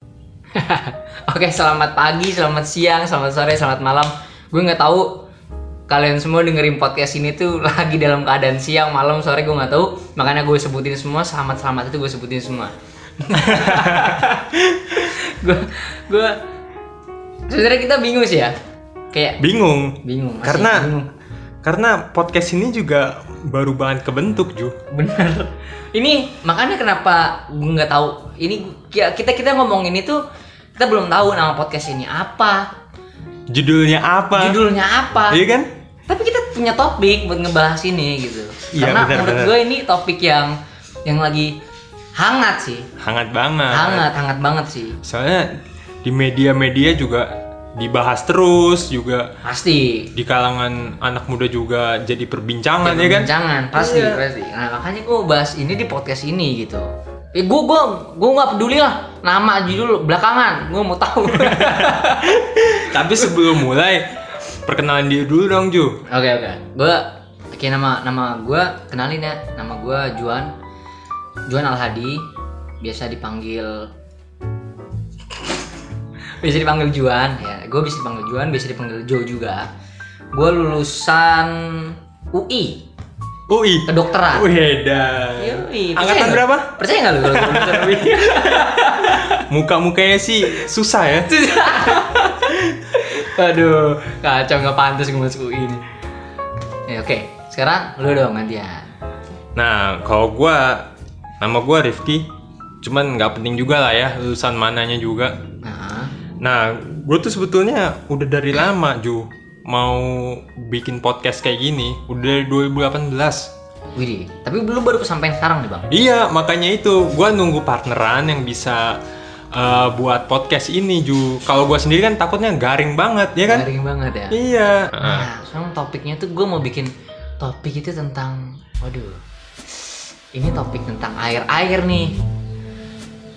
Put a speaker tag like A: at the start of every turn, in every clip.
A: Oke, selamat pagi, selamat siang, selamat sore, selamat malam. Gue nggak tahu kalian semua dengerin podcast ini tuh lagi dalam keadaan siang, malam, sore gue nggak tahu. Makanya gue sebutin semua selamat selamat itu gue sebutin semua. gue gue sebenarnya kita bingung sih ya. Kayak
B: Bingung.
A: bingung. masih
B: Karena
A: bingung.
B: karena podcast ini juga baru banget kebentuk, Ju.
A: bener ini makanya kenapa gue nggak tahu ini ya, kita kita ngomong ini tuh kita belum tahu nama podcast ini apa
B: Judulnya apa?
A: judulnya apa
B: Iya kan?
A: tapi kita punya topik buat ngebahas ini gitu
B: Iya,
A: karena
B: benar,
A: menurut
B: benar.
A: gue ini topik yang yang lagi hangat sih
B: Hangat banget.
A: hangat hangat banget sih
B: Soalnya di media-media juga dibahas terus juga
A: pasti
B: di kalangan anak muda juga jadi perbincangan ya, kan?
A: Jangan, pasti,
B: Iya.
A: pasti. Nah, makanya gue bahas ini di podcast ini gitu. Eh, gue gue gue nggak peduli lah nama judul belakangan. Gue mau tahu.
B: Tapi sebelum mulai perkenalan dia dulu dong, Ju.
A: Oke oke. Gue oke nama nama gue kenalin ya. Nama gue Juan. Juan Alhadi. Biasa dipanggil biasa dipanggil Juan ya. Gue bisa dipanggil Juan, biasa dipanggil Jo juga. Gue lulusan UI
B: UI.
A: kedokteran.
B: Wedan.
A: Yoi, percaya
B: Angkatan
A: nggak?
B: berapa?
A: Percaya nggak lu kalau gua lulusan UI?
B: Muka-mukanya sih susah ya.
A: Aduh, kacau nggak pantas gue masuk UI ini. Ya, oke, sekarang lu dong gantian.
B: Nah, kalau gua nama gua Rifki, cuman nggak penting juga lah ya lulusan mananya juga.
A: Nah,
B: Nah, gue tuh sebetulnya udah dari lama Ju mau bikin podcast kayak gini, udah dari 2018.
A: Widih, tapi lu baru kesampaian sekarang nih bang.
B: Iya, makanya itu gua nunggu partneran yang bisa eh, buat podcast ini Ju. Kalau gua sendiri kan takutnya garing banget, ya kan?
A: Garing banget ya.
B: Iya. Nah,
A: Nah, sekarang topiknya tuh gue mau bikin topik itu tentang, waduh, ini topik tentang air air nih.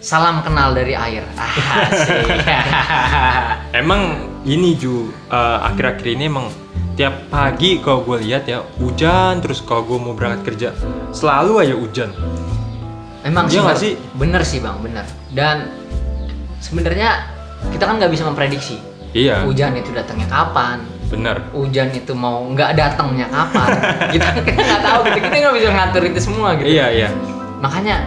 A: Salam kenal dari air. Ah, sih.
B: Ah, Emang ini Ju, eh, akhir-akhir ini emang tiap pagi kalau gue lihat ya hujan terus kalau gue mau berangkat kerja selalu aja hujan.
A: Emang
B: Iya
A: bener
B: nggak sih?
A: bener sih bang, bener. Dan sebenarnya kita kan nggak bisa memprediksi
B: Iya,
A: hujan itu datangnya kapan,
B: bener.
A: hujan itu mau nggak datangnya kapan kita kita nggak tahu gitu kita nggak bisa ngatur itu semua gitu
B: Iya iya.
A: makanya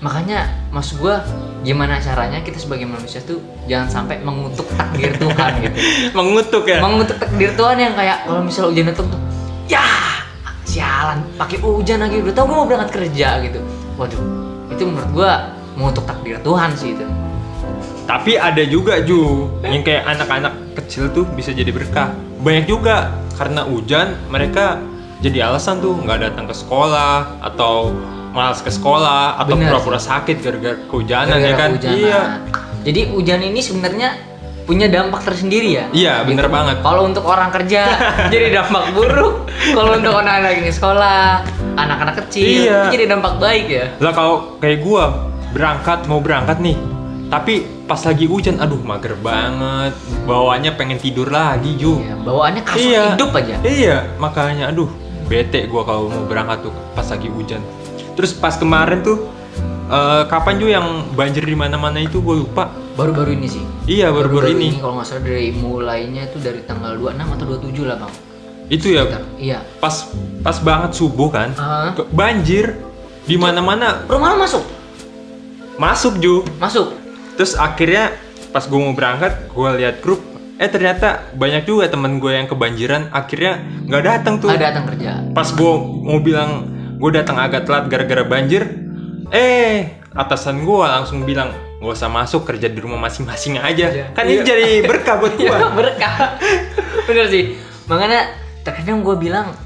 A: makanya maksud gua gimana caranya kita sebagai manusia tuh jangan sampai mengutuk takdir Tuhan gitu
B: Mengutuk ya.
A: mengutuk takdir Tuhan yang kayak kalau misal hujan datang tuh ya sialan pakai hujan lagi udah tau gua mau berangkat kerja gitu waduh itu menurut gua mengutuk takdir Tuhan sih itu
B: Tapi ada juga Ju yang kayak anak-anak kecil tuh bisa jadi berkah. Banyak juga karena hujan mereka jadi alasan tuh nggak datang ke sekolah atau malas ke sekolah atau
A: Bener
B: pura-pura sakit gara-gara kehujanan
A: Gara-gara
B: ya kan?
A: kehujanan.
B: Iya.
A: Jadi hujan ini sebenarnya punya dampak tersendiri ya?
B: Iya, bener banget.
A: Kalau untuk orang kerja jadi dampak buruk. Kalau untuk anak-anak yang di sekolah, anak-anak kecil
B: Iya.
A: itu jadi dampak baik ya.
B: Lah kalau kayak gua berangkat mau berangkat nih, tapi pas lagi hujan, aduh mager banget, bawaannya pengen tidur lagi Ju.
A: Iya, bawaannya kasar
B: Iya.
A: hidup aja.
B: Iya, makanya aduh bete gua kalau mau berangkat tuh pas lagi hujan. Terus pas kemarin tuh eh, kapan Ju yang banjir di mana-mana itu gua lupa.
A: Baru-baru ini sih.
B: Iya baru-baru ini.
A: kalau nggak salah dari mulainya itu dari tanggal 26 atau 27 lah bang.
B: Itu ya
A: Bentar, Iya.
B: pas pas banget subuh kan.
A: Ah.
B: Ke- Banjir di mana-mana
A: Rumah lu masuk,
B: masuk Ju.
A: masuk.
B: Terus akhirnya pas gue mau berangkat, gue lihat grup, eh ternyata banyak juga temen gue yang kebanjiran. Akhirnya nggak datang tuh.
A: Ada datang kerja.
B: Pas gue mau bilang gue datang agak telat gara-gara banjir, eh atasan gue langsung bilang gak usah masuk kerja di rumah masing-masing
A: Iya.
B: aja. Kan
A: Iya.
B: ini jadi berkah buat gue.
A: Iya berkah. Bener sih. Makanya terkadang gue bilang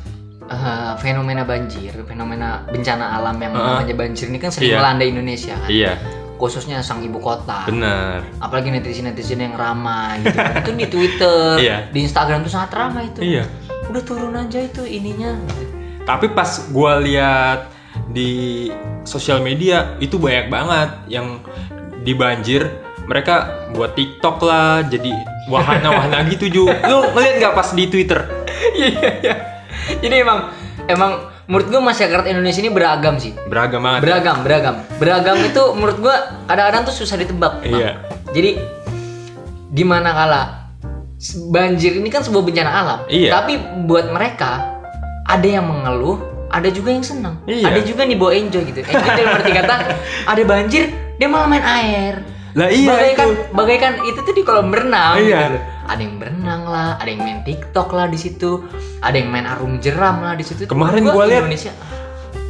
A: eh, fenomena banjir, fenomena bencana alam yang
B: Heeh.
A: namanya banjir ini kan sering
B: Iya.
A: melanda Indonesia kan.
B: iya,
A: Khususnya sang ibu kota.
B: bener.
A: Apalagi netizen-netizen yang ramai gitu. kan. itu di Twitter,
B: Iya.
A: di Instagram tuh sangat ramai itu.
B: Iya.
A: Udah turun aja itu ininya.
B: Tapi pas gue lihat di sosial media itu banyak banget yang dibanjir mereka buat TikTok lah jadi wahana-wahana gitu Ju. Lu ngeliat nggak pas di Twitter?
A: Iya iya iya. Jadi emang emang menurut gue masyarakat Indonesia ini beragam sih.
B: Beragam banget.
A: Beragam, beragam. Beragam itu menurut ua kadang-kadang tuh susah ditebak. Bang.
B: Iya.
A: Jadi gimana kala s- banjir ini kan sebuah bencana alam.
B: Iya.
A: Tapi buat mereka ada yang mengeluh, ada juga yang senang.
B: Iya.
A: Ada juga nih bawa enjoy gitu. Enjoy dalam arti kata ada banjir dia malah main air.
B: Lah iya
A: bagaikan
B: itu.
A: bagaikan itu tuh di kolam berenang
B: Iya.
A: gitu loh. Ada yang berenang lah, ada yang main TikTok lah di situ, ada yang main arung jeram lah di situ.
B: Kemarin
A: Menurut
B: gua lihat-
A: Indonesia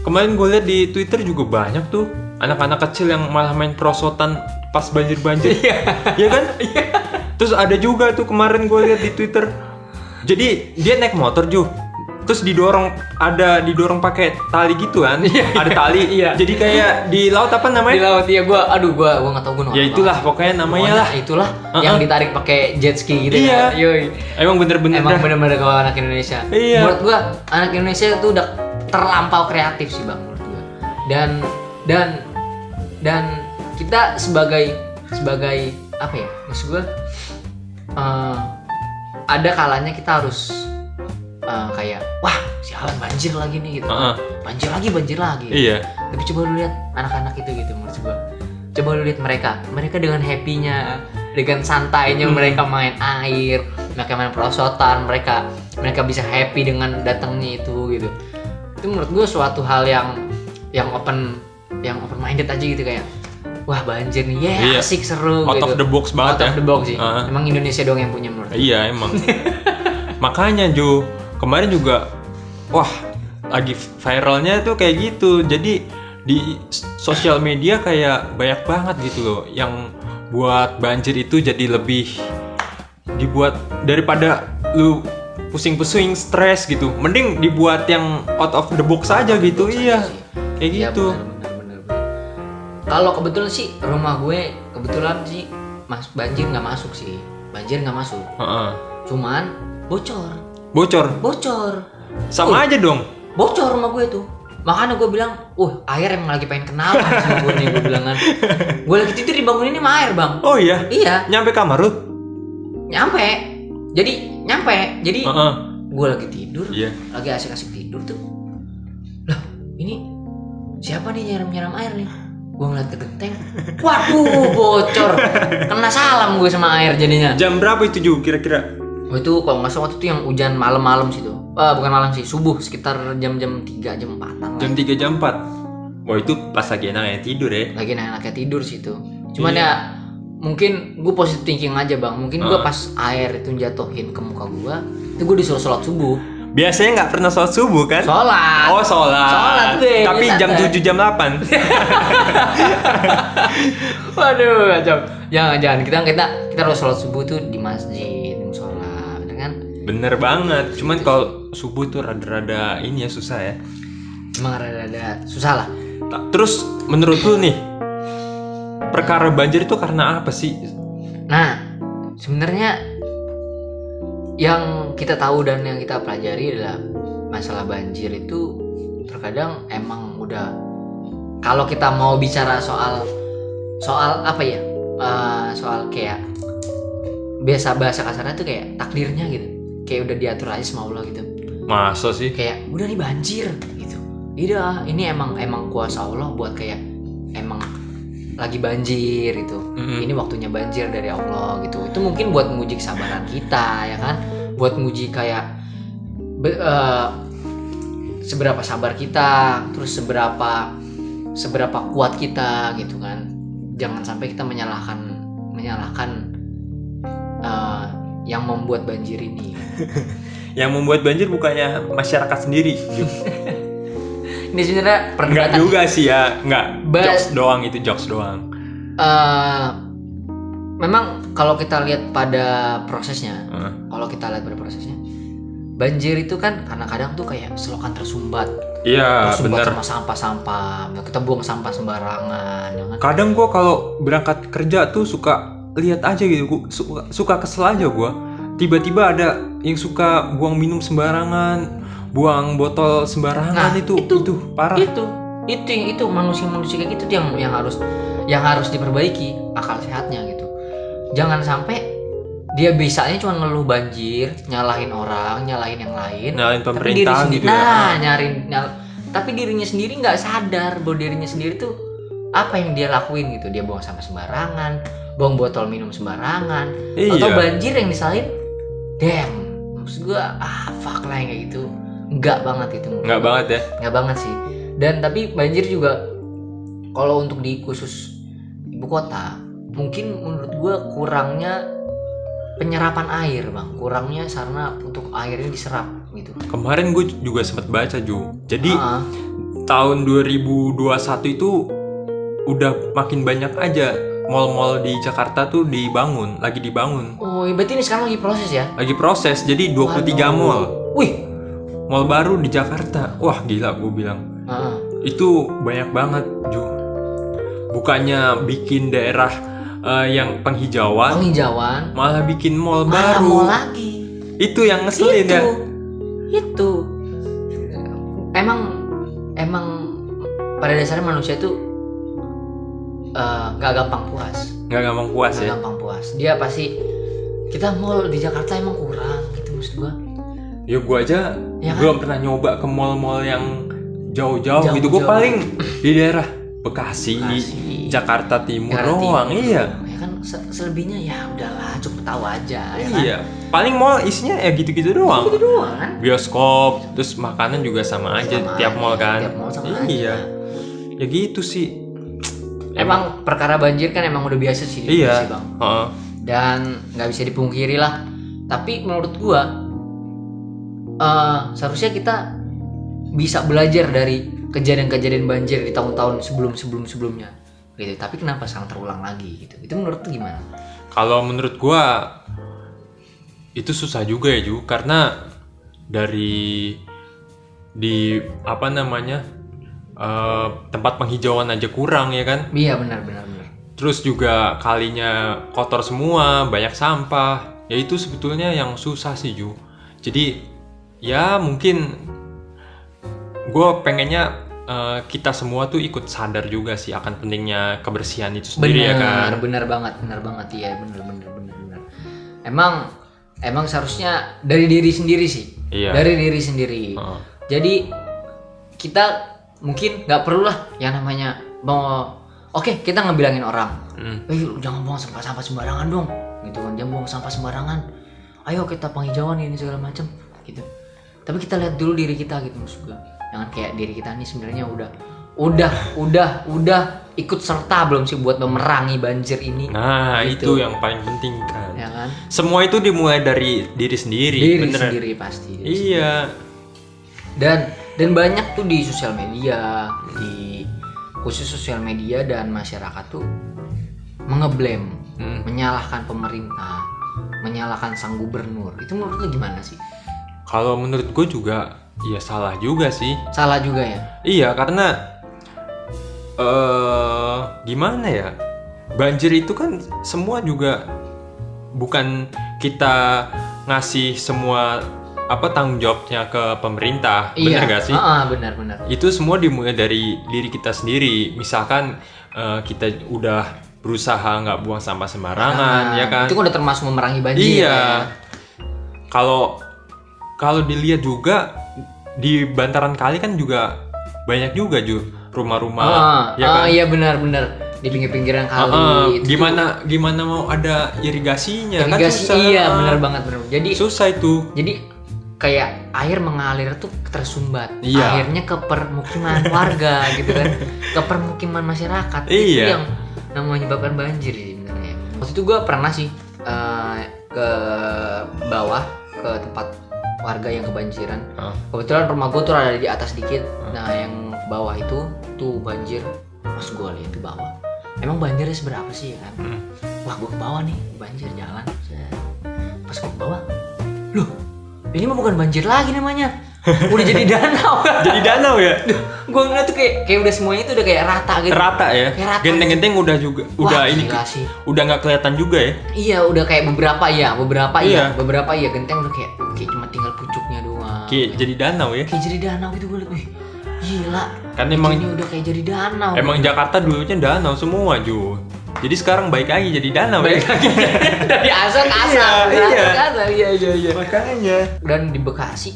B: Kemarin gue lihat di Twitter juga banyak tuh anak-anak kecil yang malah main perosotan pas banjir-banjir. Iya. kan?
A: Iya.
B: Terus ada juga tuh kemarin gue lihat di Twitter. Jadi dia naik motor Ju. Terus didorong ada didorong pakai tali gitu kan. ada tali.
A: Iya.
B: Jadi kayak di laut apa
A: di
B: namanya?
A: laut ya gua aduh gua gua nggak tahu gua nonton.
B: Ya itulah pokoknya namanya
A: Pokoknya
B: lah.
A: itulah
B: Uh-uh.
A: yang ditarik pakai jet ski gitu
B: Iya.
A: kan. Yoi.
B: Emang bener-bener
A: Emang
B: dah.
A: bener-bener kalau anak Indonesia.
B: Iya.
A: Menurut gua anak Indonesia itu udah terlampau kreatif sih bang menurut gua. Dan dan dan kita sebagai sebagai apa ya maksud gua eh, ada kalanya kita harus eh, kayak wah sialan banjir lagi nih gitu.
B: Uh-uh.
A: Banjir lagi banjir lagi
B: Iya.
A: tapi coba lu lihat anak-anak itu gitu menurut gua coba lu lihat mereka mereka dengan happy-nya dengan santainya
B: Hmm.
A: mereka main air mereka main perosotan mereka mereka bisa happy dengan datangnya itu gitu itu menurut gua suatu hal yang yang open yang open minded aja gitu kayak wah banjir nih ya
B: Iya.
A: asik seru
B: Out
A: gitu
B: of the box banget
A: out of
B: ya.
A: the box sih
B: Ah.
A: emang Indonesia doang yang punya menurut gua.
B: Iya emang. Makanya Jo, kemarin juga wah lagi viralnya tuh kayak gitu. Jadi di s- sosial media kayak banyak banget gitu loh yang buat banjir itu jadi lebih dibuat daripada lu pusing-pusing stres gitu. Mending dibuat yang out of the box aja gitu. Iya. Kayak
A: Iya,
B: gitu.
A: benar, benar, benar, benar. Kalau kebetulan sih rumah gue kebetulan sih mas banjir nggak masuk sih, banjir nggak masuk.
B: Heeh.
A: Cuman bocor,
B: Bocor.
A: bocor, Eh,
B: Sama
A: Oh.
B: aja dong.
A: bocor rumah gue tuh. Makanya gue bilang, uh air emang lagi pengen kenalan sama gue nih gue bilang kan. Gue lagi tidur dibangunin sama air bang.
B: Oh iya.
A: Iya,
B: Nyampe kamar lu?
A: nyampe. Jadi nyampe. Jadi
B: Heeh.
A: gue lagi tidur,
B: Iya.
A: lagi asik-asik tidur tuh lah ini siapa nih nyiram-nyiram air nih gue ngeliat ke genteng waduh bocor kena salam gue sama air jadinya
B: Jam berapa itu Ju kira-kira?
A: oh, itu kalau nggak salah waktu itu yang hujan malam-malam sih tuh Eh, bukan malam sih subuh sekitar jam-jam 3 jam 4
B: jam 3 jam 4 wah itu pas lagi enaknya tidur ya
A: lagi enak-enaknya tidur sih tuh cuman
B: Iya.
A: ya mungkin gue positive thinking aja bang mungkin gue
B: Ah.
A: pas air itu jatuhin ke muka gue itu gue disuruh sholat subuh
B: biasanya nggak pernah sholat subuh kan
A: sholat
B: oh sholat
A: Sholat gue,
B: tapi
A: biasa
B: jam
A: kan.
B: 7 jam 8
A: Waduh, kacau. Jangan, jangan. Kita kita kita harus sholat subuh tuh di masjid, di musola, bener kan?
B: bener banget cuman kalau subuh tuh rada-rada ini ya susah ya
A: Emang rada-rada susah lah.
B: Ta- terus menurut lu nih perkara banjir itu karena apa sih
A: Nah, sebenarnya yang kita tahu dan yang kita pelajari adalah masalah banjir itu terkadang emang udah kalau kita mau bicara soal soal apa ya Eh, soal kayak biasa bahasa kasarnya tuh kayak takdirnya gitu kayak udah diatur aja sama Allah gitu
B: masa sih
A: kayak udah nih banjir gitu iya ini emang emang kuasa Allah buat kayak emang lagi banjir gitu
B: Mm-mm.
A: ini waktunya banjir dari Allah gitu itu mungkin buat menguji kesabaran kita ya kan buat menguji kayak be- eh, seberapa sabar kita terus seberapa seberapa kuat kita gitu kan jangan sampai kita menyalahkan menyalahkan eh, yang membuat banjir ini
B: yang membuat banjir bukannya masyarakat sendiri Ju.
A: ini sebenarnya
B: nggak
A: perdebatan
B: juga sih ya nggak
A: Ba-
B: jokes doang itu jokes doang
A: eh memang kalau kita lihat pada prosesnya,
B: Heeh.
A: kalau kita lihat pada prosesnya, banjir itu kan kadang-kadang tuh kayak selokan tersumbat,
B: iya
A: tersumbat
B: bener
A: sama sampah-sampah, kita buang sampah sembarangan, ya kan?
B: kadang gua kalau berangkat kerja tuh suka lihat aja gitu gua suka, suka kesel aja gua tiba-tiba ada yang suka buang minum sembarangan buang botol
A: Nah,
B: sembarangan itu, itu
A: itu.
B: parah
A: Itu, itu, itu manusia-manusia kayak gitu tuh yang yang harus yang harus diperbaiki akal sehatnya gitu. Jangan sampai dia bisanya cuma ngeluh banjir, nyalahin orang, nyalahin yang lain.
B: nyalain
A: tapi diri
B: pemerintahan
A: sendiri
B: gitu
A: nah
B: ya
A: nyarin nyal- tapi dirinya sendiri nggak sadar bahwa dirinya sendiri tuh apa yang dia lakuin gitu dia buang sampah sembarangan buang botol minum sembarangan atau
B: Iya.
A: banjir yang disalahin damn maksud gua ah fuck lah yang kayak gitu nggak banget itu
B: Nggak banget ya.
A: nggak banget sih dan tapi banjir juga kalau untuk di khusus ibu kota mungkin menurut gua kurangnya penyerapan air bang kurangnya sarana untuk airnya diserap gitu
B: Kemarin gue juga sempat baca Ju. Jadi
A: Ah,
B: tahun 2021 itu udah makin banyak aja mall-mall di Jakarta tuh dibangun, lagi dibangun.
A: oh berarti ini sekarang lagi proses ya
B: Lagi proses. Jadi 23
A: Waduh.
B: mall,
A: wih
B: mall baru di Jakarta. Wah, gila gue bilang.
A: ah,
B: itu banyak banget Ju bukannya bikin daerah eh, yang penghijauan
A: penghijauan
B: malah bikin
A: Ah,
B: mall
A: malah gitu.
B: baru
A: mau lagi
B: itu yang ngeselin
A: itu
B: ya
A: itu emang emang pada dasarnya manusia itu eh, nggak gampang puas
B: nggak gampang puas
A: nggak
B: ya
A: gampang puas dia pasti kita mall di Jakarta emang kurang gitu maksud gua
B: ya gua aja
A: Ya kan?
B: belum pernah nyoba ke mall-mall yang jauh-jauh
A: Jauh-jauh.
B: gitu gua paling di daerah Bekasi,
A: Bekasi,
B: Jakarta Timur
A: Jakarta
B: doang
A: Timur.
B: iya
A: ya kan se- selebihnya ya udahlah cukup tahu aja ya kan?
B: iya paling mall isinya ya gitu-gitu
A: Itu
B: doang
A: doang kan
B: bioskop terus makanan juga sama aja
A: Sama
B: tiap
A: aja,
B: mall kan
A: tiap mall sama aja.
B: iya ya gitu sih
A: emang perkara banjir kan emang udah biasa sih di
B: Iya.
A: Bekasi, bang
B: Heeh.
A: dan nggak bisa dipungkiri lah tapi menurut gua eh, seharusnya kita bisa belajar dari kejadian-kejadian banjir di tahun-tahun sebelum-sebelum sebelumnya gitu tapi kenapa sekarang terulang lagi gitu itu menurut lu gimana
B: Kalau menurut gua itu susah juga ya Ju karena dari di apa namanya eh, tempat penghijauan aja kurang ya kan
A: iya benar benar benar
B: terus juga kalinya kotor semua banyak sampah ya itu sebetulnya yang susah sih Ju jadi ya mungkin gua pengennya eh, kita semua tuh ikut sadar juga sih akan pentingnya kebersihan itu sendiri ya kan
A: benar benar banget benar banget iya benar benar benar benar emang emang seharusnya dari diri sendiri sih
B: Iya.
A: dari diri sendiri
B: Heeh.
A: Jadi kita mungkin nggak perlu lah yang namanya mau oke kita ngebilangin orang,
B: Hmm.
A: eh lu jangan buang sampah sampah sembarangan dong, gitu kan jangan buang sampah sembarangan. Ayo kita penghijauan ini segala macam, gitu. Tapi kita lihat dulu diri kita gitu maksud gua. Jangan kayak diri kita nih sebenarnya udah udah udah udah ikut serta belum sih buat memerangi banjir ini,
B: Nah,
A: Gitu.
B: itu yang paling penting kan.
A: ya kan?
B: Semua itu dimulai dari diri sendiri,
A: Diri
B: Iya, beneran.
A: sendiri pasti. diri
B: Iya.
A: dan dan banyak tuh di sosial media di khusus sosial media dan masyarakat tuh mengeblem
B: Hmm.
A: menyalahkan pemerintah menyalahkan sang gubernur itu menurut lu gimana sih
B: Kalau menurut gue juga, ya salah juga sih.
A: salah juga ya
B: Iya, karena eh gimana ya? Banjir itu kan semua juga bukan kita ngasih semua apa tanggung jawabnya ke pemerintah,
A: iya
B: bener gak sih?
A: Ah, ah, benar benar
B: itu semua dimulai dari diri kita sendiri misalkan eh, kita udah berusaha nggak buang sampah
A: Nah,
B: sembarangan ya kan
A: itu kan udah termasuk memerangi banjir
B: iya
A: ya.
B: kalau kalau dilihat juga di bantaran kali kan juga banyak juga ju rumah-rumah
A: Ah,
B: ya
A: ah,
B: kan
A: iya benar benar di pinggir pinggiran
B: Ah, ah,
A: kali itu tuh
B: gimana gimana mau ada irigasinya
A: irigasi,
B: kan susah
A: iya
B: Ah,
A: benar banget benar jadi
B: susah itu
A: jadi kayak air mengalir tuh tersumbat
B: Iya.
A: akhirnya ke permukiman warga gitu kan ke permukiman masyarakat itu
B: Iya.
A: yang yang menyebabkan banjir sih sebenarnya waktu itu gue pernah sih eh, ke bawah ke tempat warga yang kebanjiran
B: Ah.
A: kebetulan rumah gue tuh ada di atas dikit
B: Hmm.
A: nah yang ke bawah itu tuh banjir pas gue lihat ke bawah emang banjirnya seberapa sih ya kan
B: Hmm.
A: wah gue ke bawah nih banjir jalan Set. pas gue ke bawah loh ini mah bukan banjir lagi namanya udah jadi danau
B: jadi danau ya
A: gue ngeliat tuh kayak kayak udah semuanya tuh udah kayak rata gitu
B: rata ya
A: Kayak rata.
B: genteng-genteng udah juga
A: Wah,
B: udah ini
A: gila sih.
B: udah nggak kelihatan juga ya
A: iya udah kayak beberapa ya beberapa iya.
B: Iya.
A: beberapa iya genteng udah kayak kayak cuma tinggal pucuknya doang
B: Ki, jadi danau ya.
A: kayak jadi danau gitu gue liat wih gila
B: Kan emang-
A: ini udah kayak jadi danau
B: Emang Jakarta dulunya danau semua, Ju. Jadi sekarang baik lagi jadi danau
A: Balik
B: ya.
A: lagi dari asal ke asal
B: Iya,
A: dari
B: iya.
A: asal ke asal, iya iya iya
B: Makanya.
A: dan di Bekasi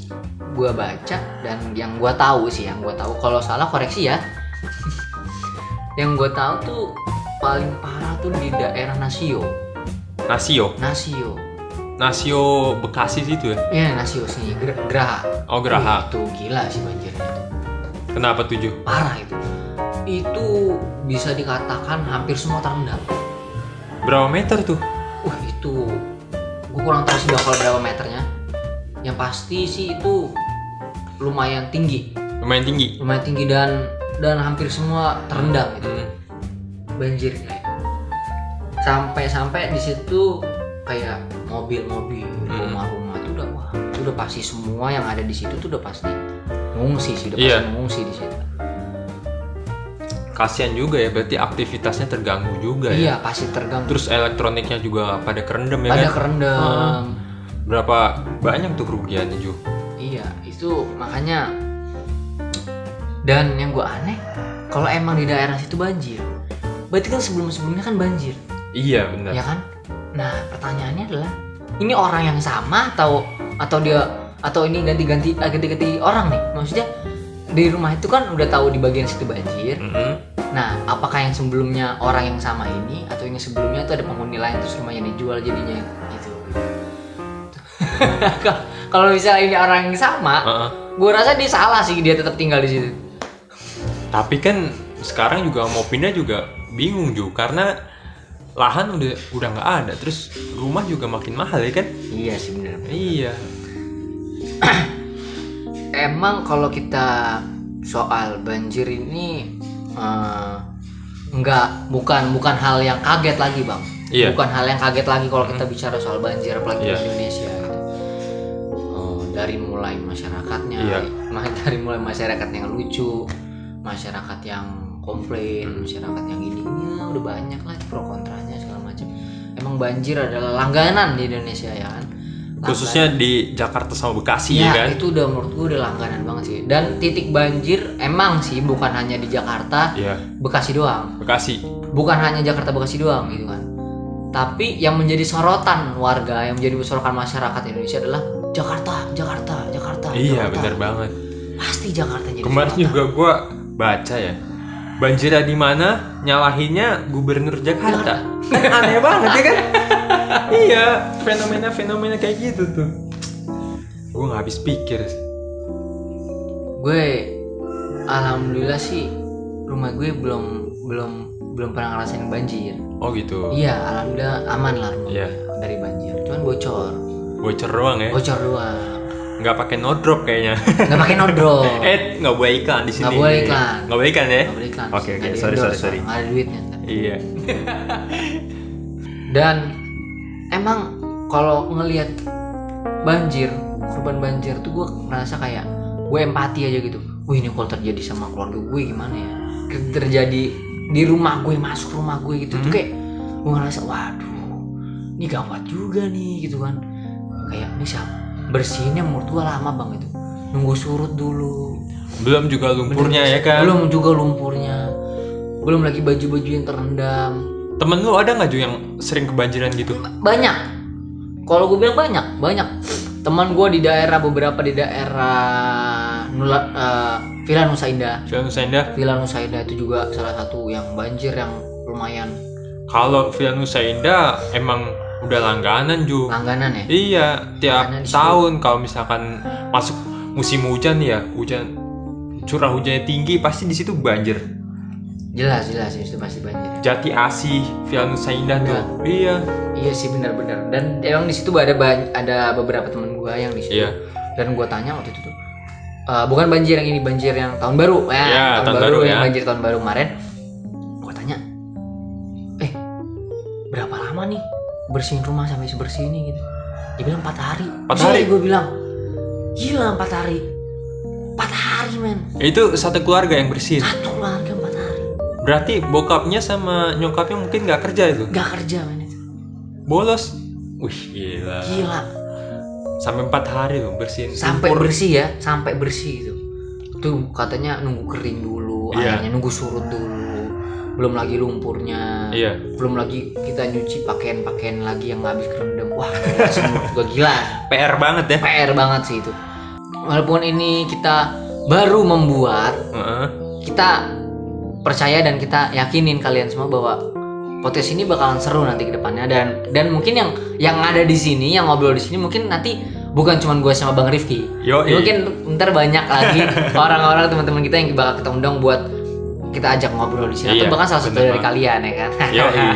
A: gua baca dan yang gua tahu sih yang gua tahu kalau salah koreksi ya yang gue tahu tuh paling parah tuh di daerah Nasio
B: Nasio,
A: Nasio
B: Nasio Bekasi situ ya.
A: ya Nasio sih Ger- Geraha
B: Oh Geraha.
A: itu gila sih banjirnya tuh
B: Kenapa tujuh?
A: parah itu itu bisa dikatakan hampir semua terendam
B: Berapa meter tuh?
A: wah itu gue kurang tahu sih bakal berapa meternya yang pasti sih itu lumayan tinggi
B: Lumayan tinggi.
A: lumayan tinggi dan dan hampir semua terendam gitu. itu
B: Hmm.
A: banjirnya itu. sampai-sampai di situ kayak mobil-mobil
B: Hmm.
A: rumah-rumah itu udah wah itu udah pasti semua yang ada di situ tuh udah pasti ngungsi sih udah
B: Iya.
A: pasti ngungsi di situ
B: Kasian juga ya, berarti aktivitasnya terganggu juga ya.
A: iya pasti terganggu
B: Terus elektroniknya juga pada kerendam ya
A: pada
B: kan?
A: kerendam
B: Hmm. Berapa banyak tuh kerugiannya Ju?
A: Iya, itu makanya. Dan yang gue aneh, kalau emang di daerah situ banjir, berarti kan sebelum-sebelumnya kan banjir,
B: Iya benar.
A: ya kan? Nah, pertanyaannya adalah, ini orang yang sama atau atau dia atau ini ganti-ganti ah, ganti-ganti orang nih? Maksudnya di rumah itu kan udah tahu di bagian situ banjir.
B: Mm-mm.
A: Nah, apakah yang sebelumnya orang yang sama ini atau yang sebelumnya itu ada penghuni lain terus rumahnya dijual jadinya gitu? kalau misalnya ini orang yang sama,
B: Heeh.
A: gue rasa dia salah sih dia tetap tinggal di situ
B: Tapi kan sekarang juga mau pindah juga bingung Ju karena lahan udah udah nggak ada, terus rumah juga makin mahal ya kan?
A: iya sih bener
B: Iya.
A: emang kalau kita soal banjir ini eh, nggak bukan bukan hal yang kaget lagi bang
B: Iya.
A: bukan hal yang kaget lagi kalau kita bicara soal banjir apalagi
B: Iya.
A: di Indonesia gitu. Eh, dari mulai masyarakatnya
B: Iya.
A: ma- dari mulai masyarakat yang lucu masyarakat yang komplain masyarakat yang ini ya, udah banyak lah pro kontranya segala macam emang banjir adalah langganan di Indonesia ya kan
B: Khususnya di Jakarta sama Bekasi
A: Iya,
B: ya, kan?
A: itu udah menurut gue udah langganan banget sih. Dan titik banjir emang sih bukan hanya di Jakarta,
B: Iya.
A: Bekasi doang.
B: Bekasi.
A: Bukan hanya Jakarta Bekasi doang gitu kan. Tapi yang menjadi sorotan warga, yang menjadi sorotan masyarakat Indonesia adalah Jakarta, Jakarta, Jakarta.
B: Iya
A: Jakarta.
B: benar banget.
A: Pasti Jakarta yang jadi
B: Kemarin
A: sorotan.
B: juga gua baca ya. Banjirnya di mana? Nyalahinnya Gubernur Jakarta. Kan aneh banget ya kan? iya, fenomena-fenomena kayak gitu tuh. Gua nggak habis pikir. sih.
A: Gue alhamdulillah sih rumah gue belum belum belum pernah ngerasain banjir.
B: Oh gitu.
A: Iya, alhamdulillah aman lah rumah
B: Iya.
A: gue dari banjir. Cuman bocor.
B: Bocor doang ya.
A: Bocor doang.
B: Nggak pakai no drop kayaknya.
A: nggak pakai nodrol
B: eh, nggak boleh iklan di sini.
A: Nggak boleh iklan.
B: Nggak boleh iklan ya?
A: nggak boleh iklan
B: Oke, oke.
A: Nggak
B: Sorry, sorry,
A: di-endorse,
B: sorry.
A: nggak ada duitnya ntar.
B: Iya.
A: dan emang kalau ngelihat banjir korban banjir tuh gue ngerasa kayak gue empati aja gitu wih ini kalau terjadi sama keluarga gue gimana ya terjadi di rumah gue masuk rumah gue gitu tuh
B: Hmm.
A: kayak gue ngerasa waduh ini gawat juga nih gitu kan kayak bisa bersihinnya menurut gue lama bang itu nunggu surut dulu
B: Belum juga lumpurnya ya kan?
A: belum juga lumpurnya belum lagi baju-baju yang terendam
B: Temen lu ada nggak Ju yang sering kebanjiran gitu?
A: banyak kalau gue bilang banyak banyak teman gue di daerah beberapa di daerah Nula, eh, Villa Nusa Indah
B: Jalan Senda.
A: Villa Nusa Indah itu juga salah satu yang banjir yang lumayan
B: Kalau Villanusa Indah emang udah langganan Ju.
A: langganan ya
B: Iya, tiap
A: Langganan di situ.
B: tahun kalau misalkan masuk musim hujan ya, hujan curah hujannya tinggi pasti di situ banjir.
A: jelas jelas itu pasti banjir
B: Jati Asih, Villanusa Indah tuh. Iya.
A: iya sih benar-benar dan emang di situ ada ban- ada beberapa teman gue yang di situ
B: Iya.
A: dan gue tanya waktu itu tuh eh, bukan banjir yang ini banjir yang tahun baru ya
B: Ya, tahun baru
A: yang
B: ya.
A: banjir tahun baru kemarin gue tanya eh berapa lama nih bersihin rumah sampai sebersih ini gitu dia bilang empat hari
B: Empat
A: Terus
B: hari?
A: gue bilang gila empat hari empat hari men
B: Iya. Itu satu keluarga yang bersih.
A: satu keluarga empat hari
B: Berarti bokapnya sama nyokapnya mungkin nggak kerja itu.
A: gak kerja men itu
B: Bolos. Wih, gila.
A: gila
B: Sampai empat hari loh bersihin.
A: sampai
B: lumpur.
A: bersih ya sampai bersih gitu itu katanya nunggu kering dulu
B: Iya.
A: airnya nunggu surut dulu belum lagi lumpurnya
B: Iya.
A: belum lagi kita nyuci pakaian-pakaian lagi yang habis kerendam wah gila sih, menurut gua gila
B: PR banget ya.
A: PR banget sih itu walaupun ini kita baru membuat
B: Heeh.
A: kita percaya dan kita yakinin kalian semua bahwa podcast ini bakalan seru nanti ke depannya dan dan mungkin yang yang ada di sini yang ngobrol di sini mungkin nanti bukan cuma gue sama Bang Rifki.
B: Yoi.
A: Mungkin ntar banyak lagi orang-orang teman-teman kita yang bakal kita undang buat kita ajak ngobrol di sini atau
B: Iya,
A: bahkan salah satu
B: bener
A: dari
B: banget.
A: kalian ya kan.
B: Yoi.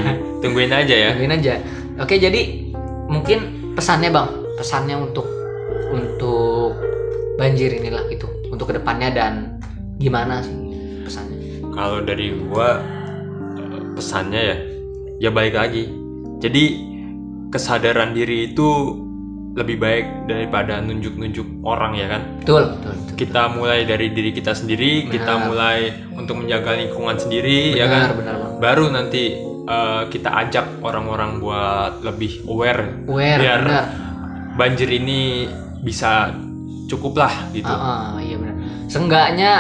B: tungguin aja ya.
A: Tungguin aja. Oke, jadi mungkin pesannya Bang, pesannya untuk untuk banjir inilah gitu, untuk kedepannya dan gimana sih pesannya?
B: Kalau dari gua eh, pesannya ya, ya baik lagi. Jadi kesadaran diri itu lebih baik daripada nunjuk-nunjuk orang ya kan.
A: Betul, betul. betul.
B: Kita mulai dari diri kita sendiri, kita
A: Benar.
B: mulai untuk menjaga lingkungan sendiri ya
A: Benar,
B: kan.
A: benar Bang.
B: Baru nanti eh, kita ajak orang-orang buat lebih aware
A: Aware,
B: Biar
A: benar.
B: banjir ini bisa cukup lah gitu.
A: Ah, ah, iya benar. Seenggaknya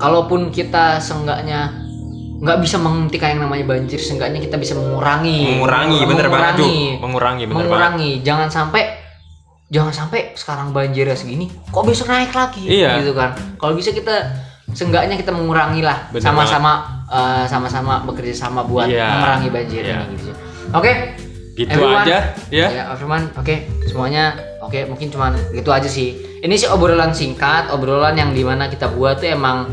A: kalaupun kita seenggaknya nggak bisa menghentikan yang namanya banjir, seenggaknya kita bisa mengurangi.
B: Mengurangi, bener banget Ju.
A: Mengurangi.
B: Mengurangi bener banget.
A: mengurangi. Jangan sampai jangan sampai sekarang banjirnya segini, kok besok naik lagi
B: Iya.
A: gitu kan. Kalau bisa kita seenggaknya kita mengurangi lah
B: Bener
A: sama-sama eh, sama-sama bekerja sama buat
B: Iya.
A: memerangi banjir
B: Iya.
A: ini gitu. Oke.
B: Gitu
A: Everyone.
B: aja ya.
A: Ya, Firman, oke, semuanya oke, mungkin cuman gitu aja sih. Ini sih obrolan singkat, obrolan yang dimana kita buat tuh emang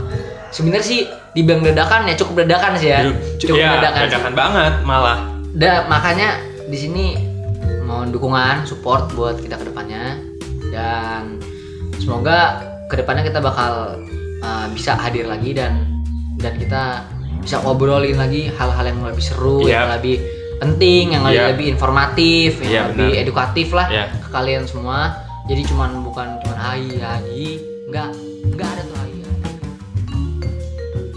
A: sebenarnya sih dibilang dadakan ya cukup dadakan sih ya,
B: Aduh, cu-
A: cukup
B: ya,
A: dadakan. sih.
B: dadakan banget malah.
A: Da- makanya di sini mohon dukungan, support buat kita kedepannya dan semoga kedepannya kita bakal uh, bisa hadir lagi dan dan kita bisa ngobrolin lagi hal-hal yang lebih seru,
B: Iya.
A: yang lebih penting, yang
B: Iya.
A: lebih informatif, yang
B: Iya,
A: lebih
B: benar.
A: edukatif lah
B: Iya.
A: ke kalian semua. Jadi cuman bukan cuman hai hai enggak